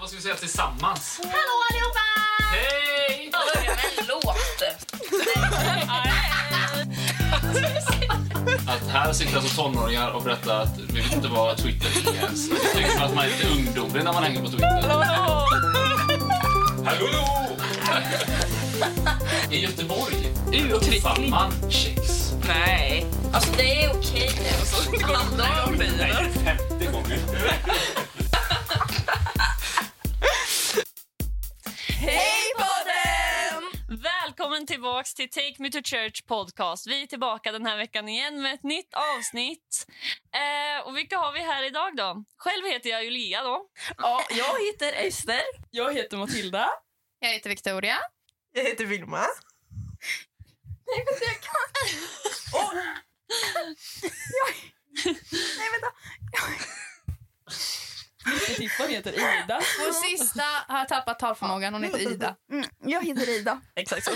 vad ska vi säga tillsammans? Hallå allihopa! Hej! Börja med en låt. Att här sitter alltså tonåringar och berättar att vi vet inte vad Twitter är ens. Jag tycker att man är lite ungdomlig när man hänger på Twitter. Hallå! I Göteborg uppfann man kex. Nej. Alltså det är okej nu. Det handlar om bilar. 50 gånger. Hej podden! Välkommen tillbaks till Take Me To Church podcast. Vi är tillbaka den här veckan igen med ett nytt avsnitt. Eh, och vilka har vi här idag då? Själv heter jag Julia då. Ja, jag heter Ester. Jag heter Matilda. Jag heter Victoria. Jag heter Vilma. Tiffan heter Ida. Vår sista har tappat talförmågan. Hon heter Ida. Mm, jag heter Ida. Exakt så.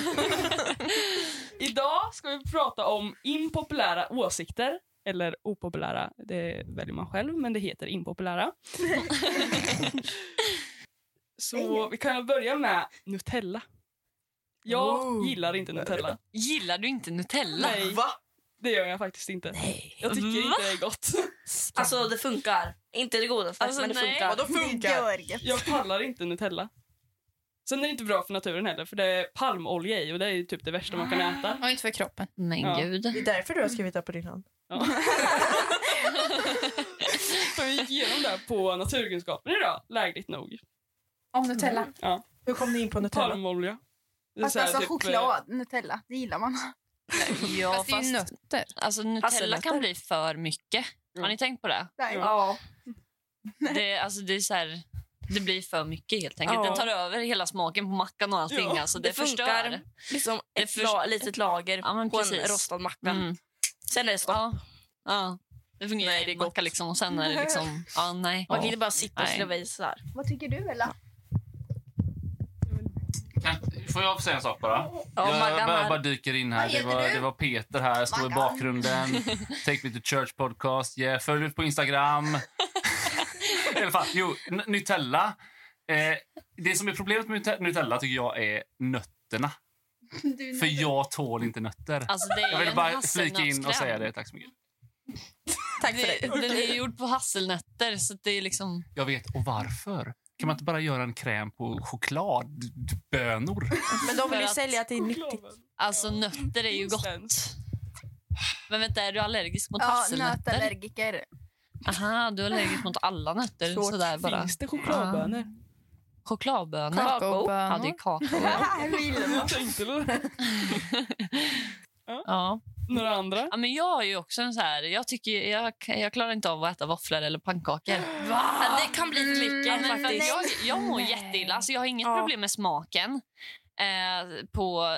Idag ska vi prata om impopulära åsikter. Eller opopulära, det väljer man själv, men det heter impopulära. så vi kan börja med Nutella. Jag Wow. gillar inte Nutella. Gillar du inte Nutella? Nej, Va? det gör jag faktiskt inte. Nej. Jag tycker inte det är gott. Alltså det funkar. Inte det godaste Alltså, men det nej. funkar. Vadå funkar? Jag pallar inte Nutella. Sen är det inte bra för naturen heller, för det är palmolja i och det är ju typ det värsta man kan äta. Och inte för kroppen. Men Ja. Det gud. är därför du har skrivit det på din hand. Ja. Så vi gick igenom det här på naturkunskapen idag, lägligt nog. Mm, Om Nutella. Hur kom ni in på Nutella? Palmolja. Det är Fast så här alltså typ, eh, choklad, Nutella, det gillar man. Ja, Fast det är ju nötter. alltså, Nutella Hasselnötter. kan bli för mycket. Har ni tänkt på det? Nej. Ja. Det, alltså, det, är så här, det blir för mycket helt enkelt. Ja. Den tar över hela smaken på mackan och allting. Ja, alltså, det, det funkar. förstör. Liksom Det ett först- la, litet lager Ja, men på en precis. rostad macka. Mm. Sen är det stopp. Ja. Ja. Det fungerar Nej, nej, det är det macka liksom och sen är det liksom... Ja, nej. Man kan inte bara sitta och Nej. slå i så här. Vad tycker du Ella? Kan, får jag säga en sak bara? Ja, jag Maggan bara, här. bara dyker in här. Vad Det heter var, du? det var Peter här. Jag står i Maggan. bakgrunden. Take me to church podcast. Yeah, följ ut på Instagram. I alla fall, jo, N- Nutella. Eh, det som är problemet med Nute- Nutella tycker jag är nötterna. För jag tål inte nötter. Alltså, det är Jag ville en bara flika in och hasselnötskräm. säga det. Tack så mycket. Tack för det. Den är ju gjord på hasselnötter, så det är liksom... Jag vet. Och varför? Kan man inte bara göra en kräm på chokladbönor? Men de vill ju För att- sälja eh, att det är nyttigt. chokladen. Alltså, nötter är ju gott. Men vänta, är du allergisk mot Ja, hasselnötter? nötallergiker. Aha, du är allergisk mot alla nötter. Svårt. Sådär bara. Finns det chokladbönor? Chokladbönor. Ja, det är Kakaobönor. kakao. Jag tänkte väl. Ja. Några andra? ja, men jag är ju också en så här... Jag, tycker, jag, jag klarar inte av att äta våfflor eller pannkakor. Ja, det kan bli för mycket Ja, men för att faktiskt. jag, jag mår jätteilla. Alltså, jag har inget Ja. problem med smaken eh, på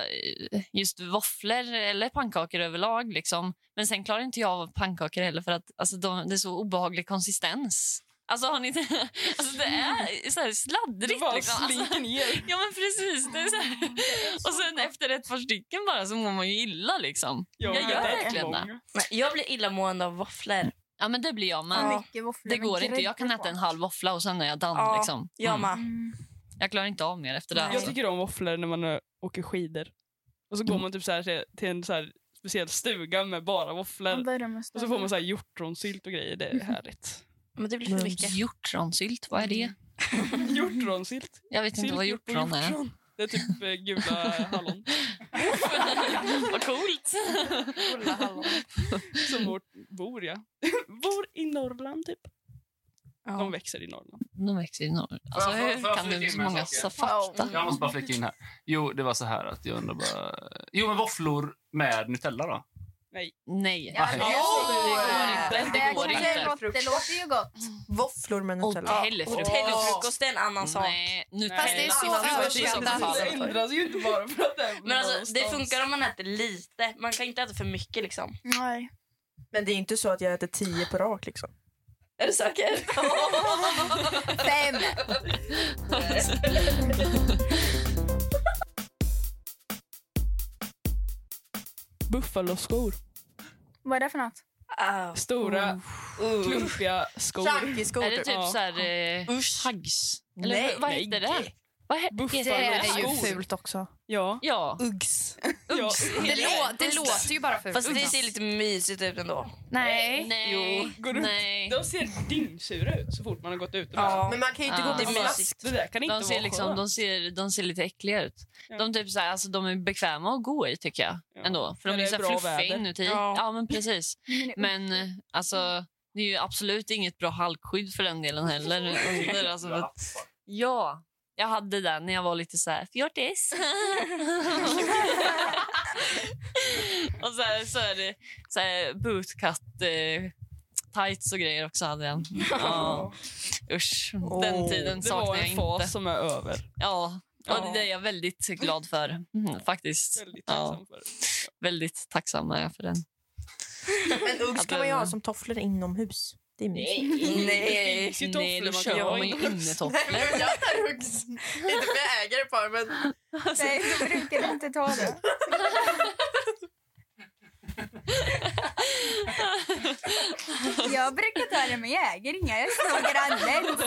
eh, just våfflor eller pannkakor överlag. Liksom. Men sen klarar inte jag av pannkakor heller för att alltså, de, det är så obehaglig konsistens. Alltså, har ni, alltså det är så här Du sladdrigt. bara liksom. alltså, slinker ner. ja, men precis. Det är så här. Och sen efter ett par stycken bara så mår man ju illa. Liksom. Jag har gör ätit verkligen det. många. Nej, Jag blir illamående av våfflor. Ja, men det blir jag med. Mycket våfflor Det med går inte. grädde Jag kan på. äta en halv våffla och sen är jag dan. Ja, liksom. Jag med. Mm. Jag klarar inte av mer efter det. Nej. Jag Alltså. tycker om våfflor när man ö, åker skidor. Och så går man typ så här till- till en så här speciell stuga med bara Man våfflor. börjar med Och så får man så här hjortronsylt och grejer. Det är härligt. Men det blir för mycket. Hjortronsylt, vad är det? Hjortronsylt. Jag vet inte Sylt vad gjort på hjortron är. Det är typ eh, gula hallon vad coolt! som bor, bor ja. bor i Norrland typ. De växer i Norrland. De växer ju norr. Alltså, Får jag- får hur jag kan flika du in så med en många sak igen? fakta? Jag måste bara flika in här. Jo, det var så här att jag undrar bara... Jo, men våfflor med Nutella då? Nej. Ja, Nej. det- Det går inte. Det går det, inte. låter, det låter ju gott. Våfflor med Åt Nutella. helvete. Hotellfrukost är en annan sak. Nej, Nutella. Fast det är så frukost i så överskattat. fall. Det ändras ju inte bara för att det är Men alltså, det någonstans. funkar om man äter lite. Man kan inte äta för mycket. liksom. Nej. Men det är inte så att jag äter tio på rak liksom. Är du säker? Fem! Buffaloskor. Vad är det för något? Ah, Stora klumpiga skor. Charkiskor. Är det typ Ja. så här... Eh, Usch. Haggs? Eller Nej. vad heter det? Vad he- Buffalo. heter det? är ju Haggs? fult också. Ja. Ja. Uggs. ja. Det, lå- det Usch. låter ju bara fult. Fast det ser lite mysigt ut ändå. Nej. Nej. Går du- Nej. De ser dyngsura ut så fort man har gått ut. Men man kan ju inte Ah. Ja. gå Det med är mask. Det där kan inte De ser, vara liksom, skönt. de, ser, de ser lite äckliga ut. Ja. De, typ så här, alltså, de är bekväma att gå i, tycker jag. Ja. Ändå. För När de är det så är här bra fluffiga väder. inuti. Ja. Ja. men precis. Men eh, alltså, det är ju absolut inget bra halkskydd för den delen heller. Under, alltså, för att, ja, jag hade det när jag var lite så här fjortis. och så, här, så är det så här bootcut eh, tights och grejer också hade jag. Ja. Usch, den Åh. tiden Det var saknar jag en inte. fas som är över. Ja, Ja. och det är jag väldigt glad för. Mm, faktiskt. Väldigt ja, tacksam för. väldigt tacksam är jag för den. Men Uggs Att den- kan man ju ha som tofflor inomhus. Det är mysigt. Nej, Nej, de man kan kör göra med innan. innetofflor. Uggs. Inte för jag äger ett par, men... Nej, du brukar inte ta det. Jag brukar ta det men jag äger inga. Jag snor grannens.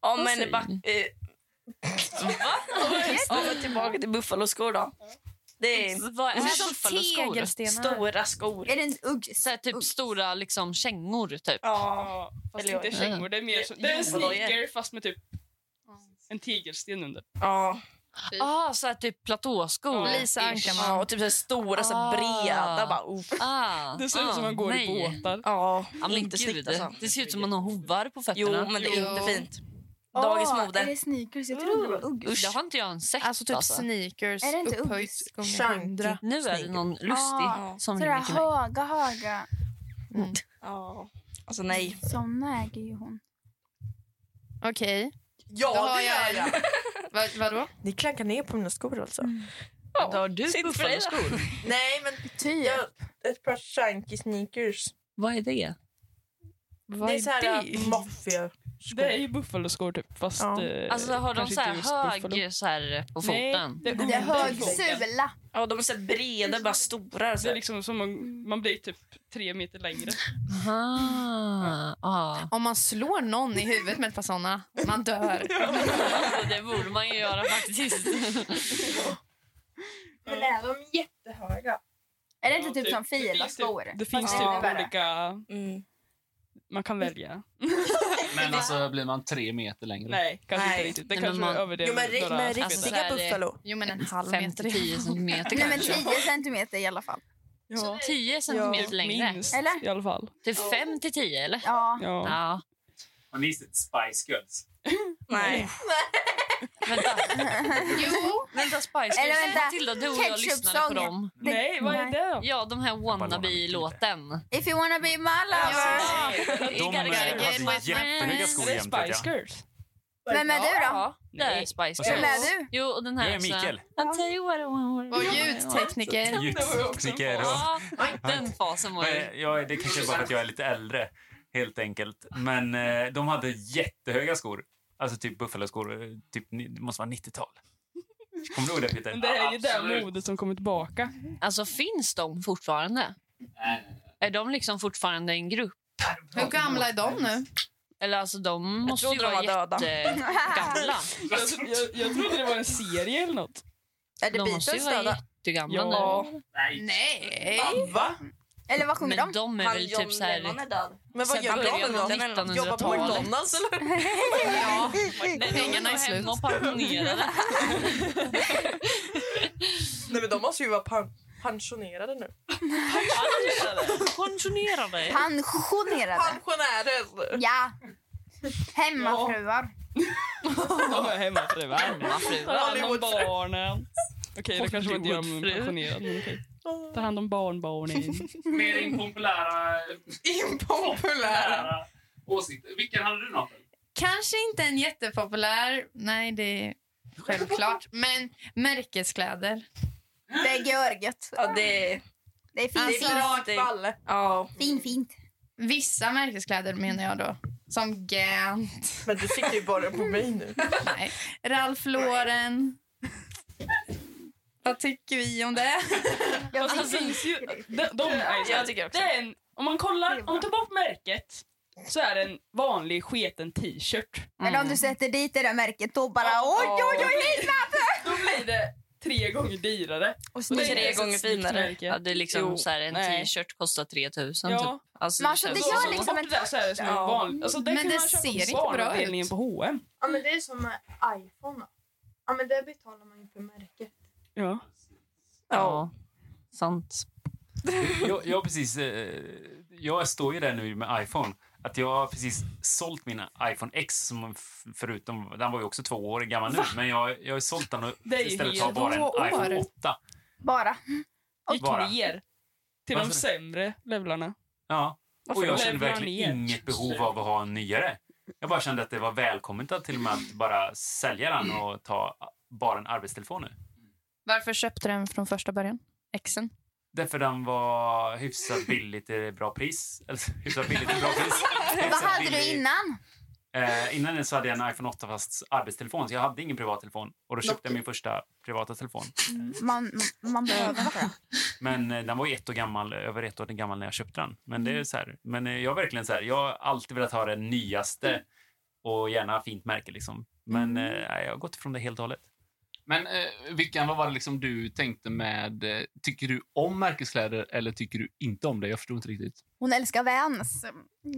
Ja, Vad säger men back, eh, ja, men tillbaka till buffaloskor då. Det är Vad är Det är det som för skor? tegelstenar. stora skor. Är det en ugg? Så här, typ Ugg. stora liksom, kängor, typ. Ja. Ja, fast Eller- inte kängor. Det är mer som, det är en Jordlojor. sneaker fast med typ en tigersten under. ja. Ah, så här, typ platåskor. Ja. Lisa Ankarman. ja och typ så här stora, så här Ah. breda. Bara, uff. Ah, Det ser ut ah, som man går nej. i båtar. Ja, Ja, men inte inte gud. snyggt alltså. Det ser ut som man har hovar på Jo, fötterna. men det är inte fint. Ah, Åh, Dagens Är mode. det sneakers? Jag trodde det var ugg. Det har inte jag sett. Alltså typ sneakers, Är det inte upphöjt Uggs? gånger Shanky. hundra. Nu är det någon lustig Ah, som Sådär ringer till mig. höga, höga. Ja. Alltså nej. Såna äger ju hon. Okej. Då Ja, har det gör jag jag. Va, vadå? Ni klankar ner på mina skor alltså. Då har du Sitt för dig då. buffaloskor. Nej, men Typ. jag, ett par shanky sneakers. Vad är det? Vad det är så här det? maffia. Det är ju buffaloskor typ fast... Ja. eh, Alltså har de kanske så här inte just buffalo. hög så här, på foten? Nej, Det är hög underifrån. sula. Ja, de är så här breda, bara stora. Så Det är här. liksom som man, man blir typ tre meter längre. Aha. Ah. Om man slår någon i huvudet med ett par såna, man dör. Alltså, det borde man ju göra faktiskt. Men är de jättehöga? Är det inte Ja, typ, som det finns filaskor? typ- Det finns Fast typ ännu värre. olika... Mm. Man kan Mm. välja. Men alltså, blir man tre meter längre? Nej, kanske Nej. inte riktigt. Det Nej, men kanske man- är över det Jo, men, ri- några Typ men meter. riktiga Alltså, så här är det. buffalo. Jo, men en halv meter. 5-10 centimeter Nej, men kanske. 10 centimeter i alla fall. Ja. 10 centimeter Alltså, längre? Minst Eller? i alla fall. Typ 5-10 eller? Ja. Ja. Ja. Har ni sett Spice Girls? Nej. Vänta, Jo, vänta Spice Eller Girls. vänta, Matilda, du och jag lyssnade på ketchup-sången. dem. Nej, vad är Nej. det då? Ja, de här wannabe-låten. If you wanna be my lover. You gotta get hade my alltså jättehöga friends. skor. Är det jämfört, ja. Spice Girls? Vem är du då? Ja, det är Spice Vad säger Vem är Girls. du? Jo, och den Jag här är också. Mikael. I'll tell you what I want. och ljudtekniker. Ljustekniker och... Ja, den fasen var ju... Men jag, det kanske är bara för att jag är lite äldre, helt enkelt. Men eh, de hade jättehöga skor. Alltså typ buffaloskor. eh, Typ, ni- det måste vara 90-tal. Kommer du ihåg det, Peter? Men det är ju det Absolut. modet som kommer tillbaka. Alltså finns de fortfarande? Är de liksom fortfarande en grupp? hur gamla är de nu? Eller alltså de måste trodde ju de vara var döda. jättegamla. Jag, Alltså, jag, jag trodde det var en serie eller något. Är det De måste ju Beatles vara döda? jättegamla Ja. nu. Nej. Va? Eller vad sjunger Men de? de är Han väl John typ så här... Lennon är död. Men vad Sen gör början de av då? 1900-talet. Jobbar på McDonalds eller? Ja, Nej, pengarna är slut. hemma och pensionerade. Nej men de måste ju vara pan- pensionerade nu. Pensionerade. Pensionerade. Pensionärer! Ja. Hemmafruar. De är hemmafruar. Ta Hemmafruar. hand om barnen. Okej, det kanske var inte jag men Hollywoodfru. pensionerad. Men okej. Ta hand om barnbarnen. Mer impopulära Impopulära! populära åsikter. Vilken hade du, Nathan? Kanske inte en jättepopulär, nej det är självklart, men märkeskläder. Bägge örgött. Ja, det är... Det är fint. Alltså- Rakt balle. Ja. Fin, fint. Vissa märkeskläder menar jag då. Som Gant, Men du siktar ju bara på mig nu. nej. Ralph Lauren. Vad tycker vi om det? Jag Fast det tycker finns ju... det är De, de är Jag tycker också det är en, om man Det kollar, är om bra. man tar bort märket så är det en vanlig sketen t-shirt. Men om du sätter dit det där märket då bara oj, oj, oj, nej, nej. Då blir det tre gånger dyrare. Och Det är Tre ett snyggt. gånger snyggt finare. alltså, märke. Ja, det är liksom Jo, så här, en nej. t-shirt kostar 3000 Ja. typ. Alltså, Men alltså, så- det Så- gör så- liksom så- ett- det där så är det som Ja. en vanlig. Alltså, det Men kunde det man köpa ser på inte bra ut. barnavdelningen på H&M. Ja, men det är som med iPhone. då. Ja, men där betalar man ju för märket. Ja. Ja, sant. Jag, jag, har precis, eh, jag står ju där nu med iPhone. Att jag har precis sålt min iPhone X, som f- förutom, den var ju också två år gammal nu. Men jag, jag har sålt den och Det är ju istället har helt bara en år. iPhone 8. Bara. Gick Bara. ner till Varför de det? sämre levlarna. Ja. Och Varför jag då? kände verkligen Levlar ner. inget behov av att ha en nyare. Jag bara kände att det var välkommet att till och med att bara sälja den och ta bara en arbetstelefon nu. Varför köpte du den från första början? Exen? Därför den var hyfsat billigt till bra pris. Eller hyfsat billigt till bra pris. Vad Hyfsat hade du billig- innan? Eh, innan det så hade jag en iPhone 8 fast arbetstelefon, så jag hade ingen privattelefon. Och då köpte jag min första privata telefon. Man, man behöver inte det. Men eh, den var ju ett år gammal, över ett år gammal när jag köpte den. Men det Mm. är så här, men eh, jag har verkligen så här, jag har alltid velat ha den Mm. nyaste och gärna fint märke liksom. Men eh, jag har gått ifrån det helt och hållet. Men eh, Vickan, vad var det liksom du tänkte med... Eh, tycker du om märkeskläder eller tycker du inte om det? Jag förstod inte riktigt. Hon älskar Vans.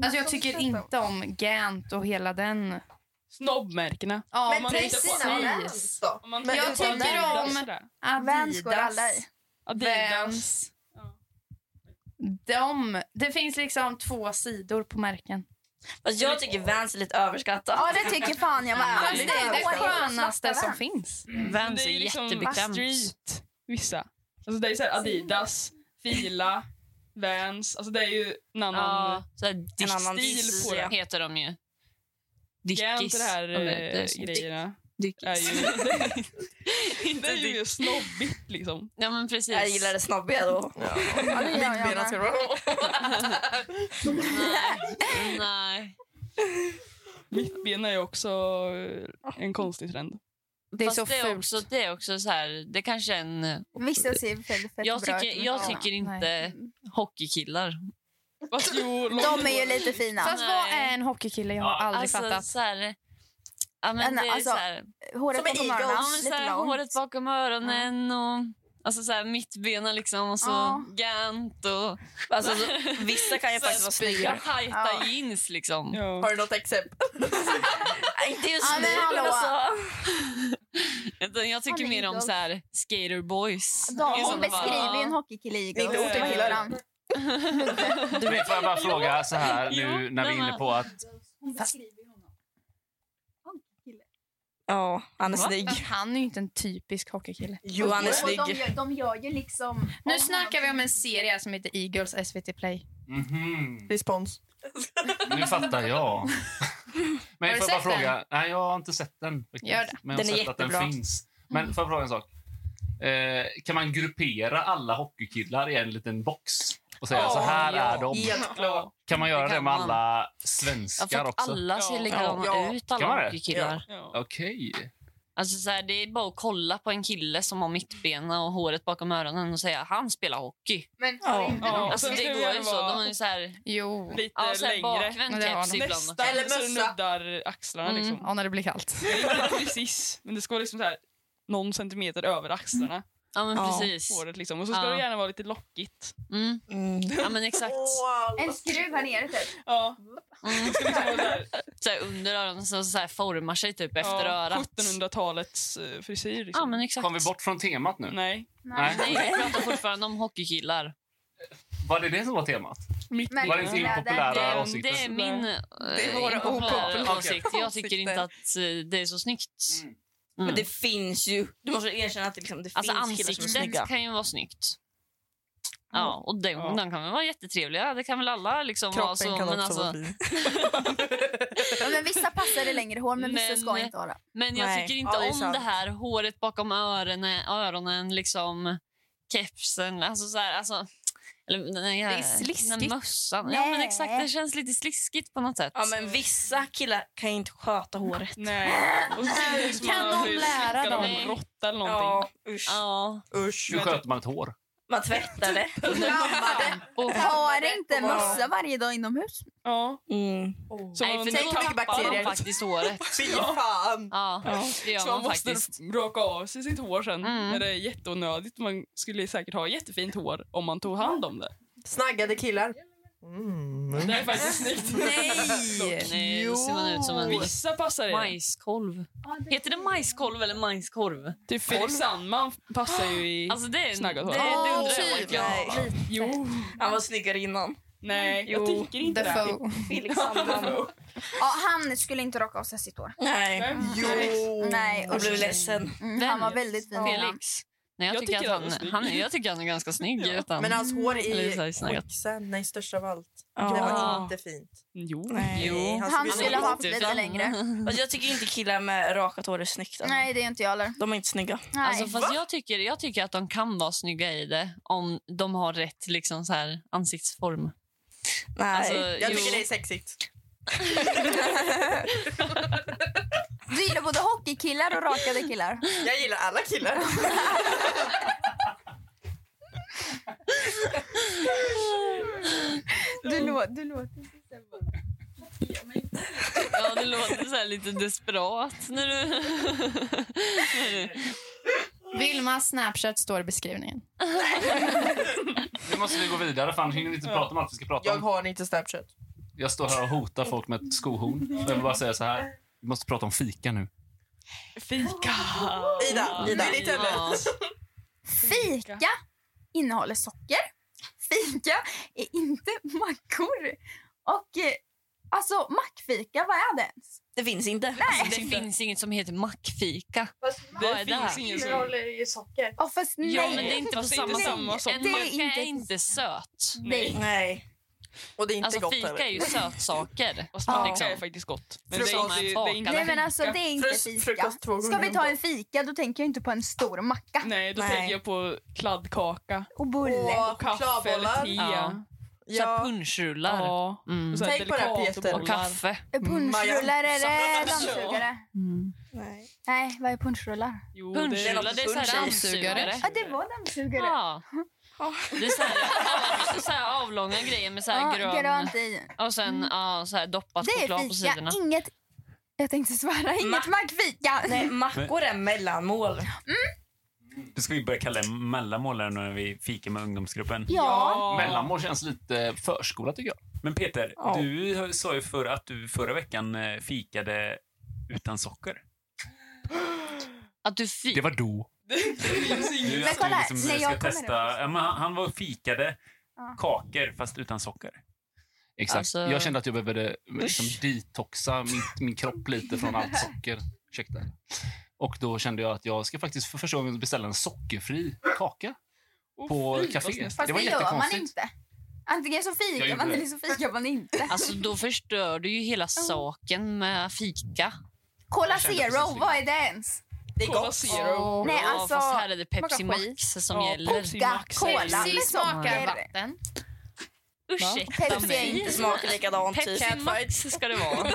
Alltså jag tycker inte om Gant och hela den. Snobbmärkena. Ja, Men det är tittar på- sina precis. Om man Men tänker jag på tycker Adidas om- och sådär. Vans går alla i. Adidas, Adidas. Vans. De, det finns liksom två sidor på märken. Fast jag tycker Vans är lite överskattat. Ja, det tycker fan jag med. Fast det är det skönaste som finns. finns. Vans Det är, är ju liksom jättebekvämt. street, vissa. Alltså det är så här Adidas, Fila, Vans. Alltså det är ju en annan... Ja, så här En annan dickis stil på det. heter de ju. Gent och det här de heter så. eh, grejerna. Dickis. Är ju, det Inte är ju dick. mer snobbigt liksom. Ja, men precis. Jag gillar det snobbiga då. Ja, det gör jag med. Nej. Nej. Mittben är ju också eh, en konstig trend. Det är Fast så det är fult. också, det är också så här, det kanske är en... Vissa ser fett, fett Jag bra tycker, ut. jag Ja. tycker inte Nej. hockeykillar. Fast jo, De är ju lite fina. Fast vad Nej. är en hockeykille? Jag har Ja, aldrig alltså, fattat. Så här, ja, men Men det är alltså, så här, Håret Som är bakom eagles. ja, öronen, men så lite här långt. håret bakom öronen och alltså så här, mittbena liksom och så Ja. gant och Alltså, så, vissa kan ju faktiskt vara ja, snygga. tajta Ja. jeans liksom. Ja. Har du något exempel? Nej, Inte just Ja, men nu. hallå. Alltså. Utan jag tycker Han är mer om idol. så här, skaterboys. De I som sådana fall. beskriver ju en hockeykille i eagles. Inte Det var hockeykillar. helt Du vet, får jag bara fråga så här nu Jo, när vi nej, är inne men- på att... Hon beskriver ju honom. Ja, han är Va? snygg. Fast han är ju inte en typisk hockeykille. Jo, han är Och de, snygg. gör, de gör ju liksom... Nu snackar vi om en serie som heter Eagles SVT Play. Mhm, Respons. nu fattar jag. Men Har du får jag sett bara fråga... Nej, jag har inte sett den. faktiskt. Gör det. Men jag har Den är sett att den jättebra. finns. Men får jag fråga en sak? Eh, kan man gruppera alla hockeykillar i en liten box? Och säga Ja, så här ja. är de. Helt klart. Kan man göra det, Det kan med man. alla Ja, för svenskar att också? alla ser Ja. likadana Ja. ut, Kan man alla det? hockeykillar. Ja. Okej. Alltså så här, det är bara att kolla på en kille som har mittbena och håret bakom öronen och säga han spelar hockey. Men Ja. har inte Ja. någon- Alltså, sen det ska vi går ju göra så. vad- De är ju så här, Jo. Lite ja, så här längre. bakvänd Men det har keps de. ibland. Nästan Eller så mössa. nuddar axlarna Mm. liksom. Ja, när det blir kallt. Alltså, Precis. Men det ska vara liksom så här någon centimeter över axlarna. Ja, men Ja. precis. Håret liksom. Och så ska Mm. Ja. det gärna vara lite lockigt. Mm. Ja, men exakt. En skruv här nere typ. Ja. Mm. Det ska vara så här, Så här, under öronen så, så här, formar sig typ efter ja, örat. 1700-talets eh, frisyr liksom. Ja, men exakt. Kom vi bort från temat nu? Nej. Nej. Nej, vi pratar fortfarande om hockeykillar. Var det det som var temat? Mitt Men- Var det inte Ja, det- impopulära Det är, åsikter? det är min eh, det är våra opopulära åsikt. Jag tycker inte att eh, det är så snyggt. Mm. Mm. Men det finns ju. Du måste erkänna att det, liksom, det Alltså finns killar som är snygga. ansiktet kan ju vara snyggt. Ja, och den, Ja. den kan väl vara jättetrevliga. Det kan väl alla liksom vara så. men, alltså, fin. Ja, men vissa passar det längre hår, men vissa Men- ska inte ha det. men jag Nej. tycker inte Ja, det är om sant. det här håret bakom öronen, öronen liksom kepsen. Alltså så här, alltså, Eller den här, Det är sliskigt. Den här mössan. Ja, men Nej. exakt. Den känns lite sliskigt på något sätt. Ja, men vissa killar kan ju inte sköta håret. Nej. Och så ser det ut som Kan att man de har lära huskat av dem? en råtta eller någonting. Ja, usch. Ja. Usch. Hur sköter man ett hår? Man tvättar det. Fan. Och, Har inte Och bara- mössa varje dag inomhus? Ja. Mm. Så nej, man för nu tappar tappar bakterier. man faktiskt håret. Fy fan! Ja, Ja. det gör Så man man måste faktiskt. raka av sig sitt hår sen. Mm. När det är jätteonödigt. Man skulle säkert ha jättefint hår om man tog hand om det. Snaggade killar. Mm. Det är faktiskt snyggt. Nej! Nej, då ser man ut som en Vissa passar i. majskolv. Heter det majskolv eller majskorv? Typ Felix Sandman passar ju i... Alltså det, är- det, det Snaggad hår. undrar jag Åh, verkligen. nej. jo. Han var snyggare innan. Nej, jag Jo, tycker inte det. Defoe. Felix Sandman. Ja, han skulle inte raka av sig sitt hår. Nej, Jo! Nej, jag usch. blev ledsen. Mm, Vem? han var väldigt fin. Felix. Nej, jag, Jag tycker tycker att han är han, snygg. han, jag tycker han är ganska snygg. Ja. Utan, Men hans hår Eller i så här snaggat. quicksand, nej störst av allt. Ja. Det var inte fint. Jo. Nej. Nej, Han Han är skulle ha haft lite lite fin. längre. Fast Alltså, jag tycker inte killar med rakat hår är snyggt. alltså. Nej, det är inte jag heller. De är inte snygga. Nej. Alltså, fast jag, tycker, jag tycker att de kan vara snygga i det om de har rätt liksom, så här, ansiktsform. Nej. Alltså, Jag jo. tycker det är sexigt. Du gillar både hockeykillar och rakade killar. Jag gillar alla killar. Du, lå- du låter... Ja, det låter så här lite desperat. När du... när du- Vilmas Snapchat står i beskrivningen. Nu måste vi gå vidare, för annars hinner vi inte prata om allt vi ska prata Jag om. har inte Snapchat. Jag står här och hotar folk med ett skohorn. Jag vill bara säga så här. Vi måste prata om fika nu. Fika. Ida, Ida. Mm. Det är ditt ämne. Ja. Fika innehåller socker. Fika är inte mackor. Och eh, alltså, mackfika, vad är det ens? Det finns inte. Det finns inget som heter mackfika. Fast Det Vad är det? finns ingen som... innehåller ju socker. Ja, fast nej. Ja, men det är inte på Fast det är samma inte samma sätt. sak. En Det är macka inte- är inte söt. Nej. Nej. Och det är inte Alltså, gott fika är heller. ju sötsaker. Och snacka Liksom. är faktiskt gott. Men Frukost. Nej, men alltså det är inte Frus- fika. frukost 200. Ska vi ta en fika, då tänker jag inte på en stor macka. Mm. Nej, då Nej. tänker jag på kladdkaka. Och bulle. Åh, Och kaffe eller chokladbollar. te. Ja. Så här Ja. punchrullar. Ja. Mm. Och så här Tänk på det här, delikatobollar. Peter. Och kaffe. Punschrullar eller dammsugare? Nej. Nej, vad är punschrullar? Jo, det- Punchrullar, det är så här Dammsugare. dammsugare. Ja, det var dammsugare. Ja. Det är så här, ja, så här avlånga grejer med så här Ja, grön... grönt i. Och sen ja, så här doppat Det choklad är på fika, sidorna. inget... Jag tänkte svära, inget Mack. mackfika. Nej, mackor är mellanmål. Det ska vi börja kalla det mellanmål här nu när vi fikar med ungdomsgruppen. Ja. Mellanmål känns lite förskola, tycker jag. Men Peter, Ja. du sa ju förr att du förra veckan eh, fikade utan socker. Att du fi- Det var då. Du, Men kolla här, liksom, när ska jag kommer testa. Ja, men han, han var fikade Ja. kakor fast utan socker. Exakt. Alltså- Jag kände att jag behövde liksom, detoxa min, min kropp lite från allt socker. Ursäkta. Och då kände jag att jag ska faktiskt för första gången beställa en sockerfri kaka på café. Fast Det det, var gör man jättekonstigt. inte. Antingen så Jag fikar gjorde man det. eller så fikar man inte. Alltså, då förstör du ju hela saken med fika. Cola Jag kände Zero, precis vad är det ens? Det är Cola gott. Zero. Nej, Ja, alltså- Fast här är det Pepsi Smaka Max som Ja, gäller. Pepsi Coca, Max. cola Pepsi med smakar socker. vatten. Ursäkta Pepsi är mig. inte Det smakar likadant. typ. Pepsi Max ska det vara.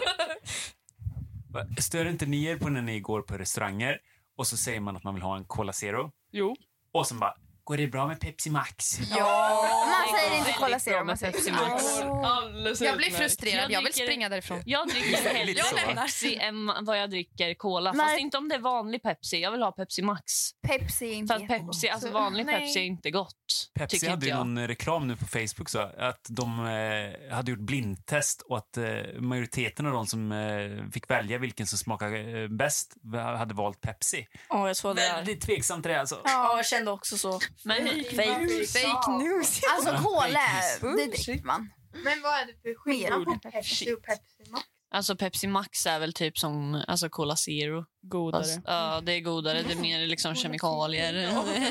Va? Stör inte ni er på när ni går på restauranger och så säger man att man vill ha en Cola Zero Jo. och sen bara Går det bra med Pepsi Max? Man säger inte väldigt Cola bra Zero, Alltså, man med säger Pepsi Pepsi Max. Max. Går alldeles Jag blir utmärkt. frustrerad. Jag vill dricker- springa därifrån. Jag dricker Lite så, hellre va? Pepsi än vad jag dricker Cola. Fast Nej. inte om det är vanlig Pepsi. Jag vill ha Pepsi Max. Pepsi är För inte att Pepsi, jättegott. alltså Så- vanlig nej. Pepsi är inte gott. Pepsi tycker hade inte ju jag. någon reklam nu på Facebook så att de eh, hade gjort blindtest och att eh, majoriteten av de som eh, fick välja vilken som smakade eh, bäst hade valt Pepsi. Ja, jag såg det där. Väldigt tveksamt till det alltså. Ja, jag kände också så. Men, Fake. Fake news. Alltså cola, Fake det dricker man. Men vad är det för skillnad Mer på Pepsi och Pepsi Max? alltså Pepsi Max är väl typ som alltså Cola Zero. Fast, Godare. ja, det är godare, det är mer liksom kemikalier.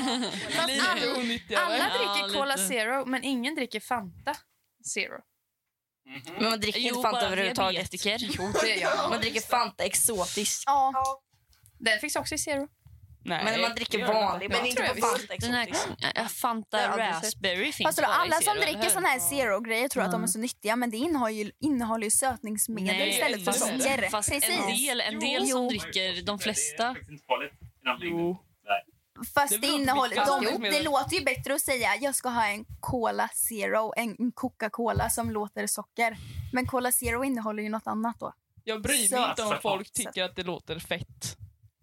Fast alla, Ah. alla onyttigare. Ja, dricker lite. Cola Zero, men ingen dricker Fanta Zero. Men man dricker inte Fanta överhuvudtaget. diabetiker. Jo, det gör man. Man dricker Fanta exotiskt. Ja, Ja, Den finns också i Zero. Nej, Men när man det dricker gör det vanlig, inte. men inte på Fanta Den här Exotic. eh, Det har Fanta jag aldrig sett. Raspberry finns Fast vadå, bara i alla som Zero, eller dricker hur? sån här zero-grejer tror att de är Mm. så nyttiga men det innehåller ju, innehåller ju sötningsmedel Nej, istället för fast- socker. Fast en Precis. del, en del som dricker, de flesta... Jo. Fast Det det, beror på innehåller, vilka de, sötningsmedel. det låter ju bättre att säga jag ska ha en Cola Zero, en en Coca-Cola som låter socker. Men Cola Zero innehåller ju något annat då. Jag bryr mig Söt. inte om folk tycker att det låter fett.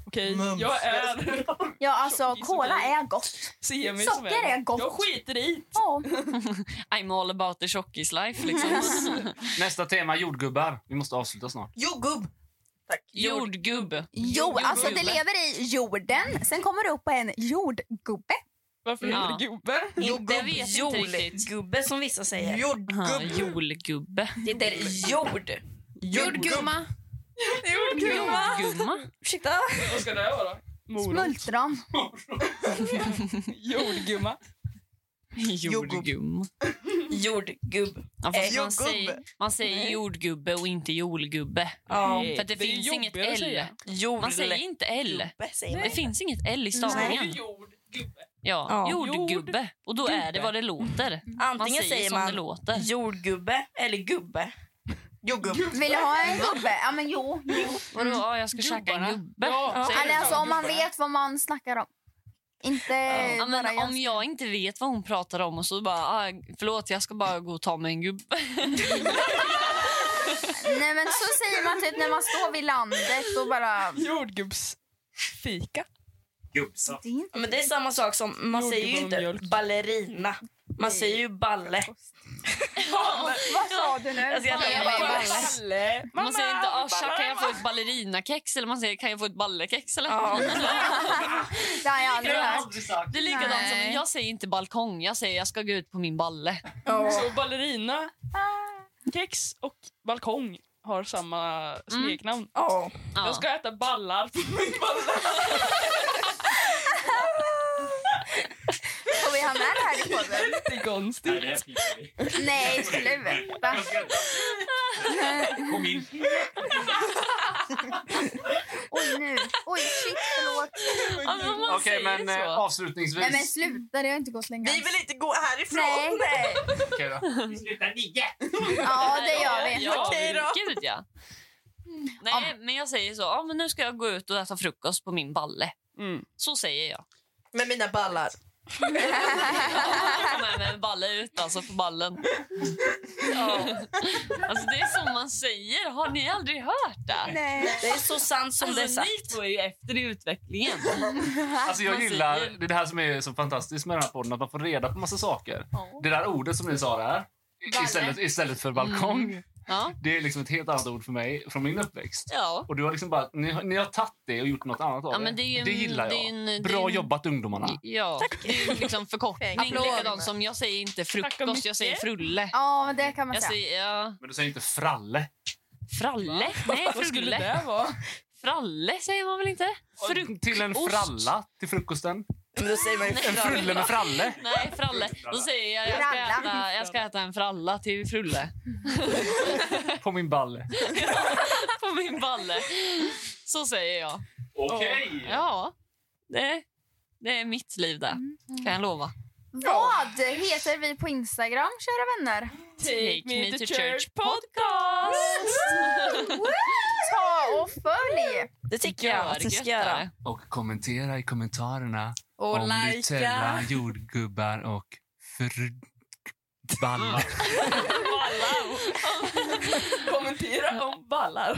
Okej, jag är... Ja, alltså Tjockis och Cola grej. är gott. Ser mig som Socker en. är gott. Jag skiter i Ja. I'm all about the tjockis life, liksom. Nästa tema, jordgubbar. Vi måste avsluta snart. Jo, gubb! Jordgubb. Jo, alltså det lever i jorden. Sen kommer det upp på en jordgubbe. Varför Ja. heter det gubbe? Det vet jag inte riktigt. Jordgubbe som vissa säger. Aha, Jordgubb. Jolgubbe. Det är jord. Jordgumma. Jordgumma. Ursäkta? Vad ska det här vara? Morot. Smultron. Jordgumma. Jordgum. Jordgubb. Ja, fast Eh, man, säger, man säger jordgubbe och inte jolgubbe. Ja. För att det, Det är finns inget jobbigare att L. säga. Jord. Man säger inte L. Gubbe säger Det man. finns inget L i stavningen. Jordgubbe. Ja, Ja. jordgubbe. Och då är det vad det låter. Man Antingen säger säger som det man låter. jordgubbe eller gubbe. Vill du ha en gubbe? Ja, men jo. Vadå, ja, jag ska käka en gubbe. Ja. Säger du Eller så? alltså om man vet vad man snackar om. Inte Ja, Eh, bara men jag. om jag inte vet vad hon pratar om och så bara ah, förlåt jag ska bara gå och ta mig en gubbe. Nej, men så säger man typ när man står vid landet och bara... Jordgubbsfika. Gubbsa. Det är inte Ja, Men det är samma sak som, man säger ju Jordgubbe och inte mjölk. ballerina. Man säger ju balle. Vad sa du nu? Alltså, jag tror jag bara- Kalle. man säger inte ah, tja, kan jag få ett ballerinakex eller man säger kan jag få ett ballekex eller Ja. Det har jag aldrig hört. aldrig sagt. Det är likadant som Nej. jag säger inte balkong, jag säger jag ska gå ut på min balle. Så ballerina, kex och balkong har samma smeknamn. Ja. Mm. Ja. Jag ska äta ballar på min ballar. Får vi ha med det här i podden? Jättekonstigt. Nej, sluta. Kom in. Oj, nu. Oj, shit, förlåt. Ja, men Alltså, man Okej, säger men så. eh, avslutningsvis. Nej, men sluta. Det har inte gått länge. Vi vill inte gå härifrån! Nej. Nej. Okej då. Ja, det gör vi. Ja, Okej då. Gud, ja. Nej, men jag säger så. Ja, men nu ska jag gå ut och äta frukost på min balle. Mm. Så säger jag. Med mina ballar. Jag tar med mig en balle ut alltså, på ballen. Ja. Alltså, det är så man säger. Har ni aldrig hört det? Nej. Det är så sant som det är Alltså, sagt. ni två är ju efter i utvecklingen. Alltså jag Man gillar säger- det är det här som är så fantastiskt med den här podden, att man får reda på massa saker. Det där ordet som ni sa där, i- istället, istället för balkong, Mm. Ja. det är liksom ett helt annat ord för mig från min uppväxt. Ja. Och du har liksom bara, ni, har- ni har tagit det och gjort något annat av Ja, men det, är ju en, gillar jag. Det är en, det är Bra en, jobbat ungdomarna. Ja, Tack. Det är ju liksom förkortning. Applåd. Likadant som jag säger inte Tack och frukost, jag säger mycket. frulle. Ja, men det kan man Jag säga. säger ja, Men du säger inte fralle. fralle. Nej, Vad skulle frulle. det vara? Fralle säger man väl inte? Frukost. Till en fralla till frukosten. Men då säger man ju En frulle med fralle. Nej, fralle. Då säger jag jag ska, Fralla. äta, jag ska äta en fralla till frulle. På min balle. På min balle. Så säger jag. Okej. Ja, det, det är mitt liv det. Mm. Kan jag lova. Vad heter vi på Instagram, kära vänner? Take me to church podcast! Ta och följ! Det tycker jag att ni ska göra. Och kommentera i kommentarerna Och om Nutella, lajka. jordgubbar och fr... ballar. Kommentera om ballar.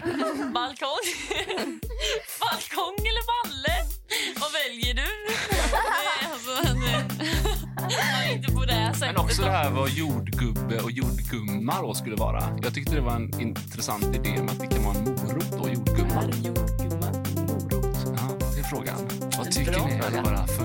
Balkong. Balkong eller balle? Vad väljer du? Nej, alltså, nej. Inte på det här sättet. Men också det här vad jordgubbe och jordgumma då skulle vara. Jag tyckte det var en intressant idé med att det kan vara en morot då, jordgumma. Jordgubbar. Ja, det är frågan. Vad tycker ni? Alla våra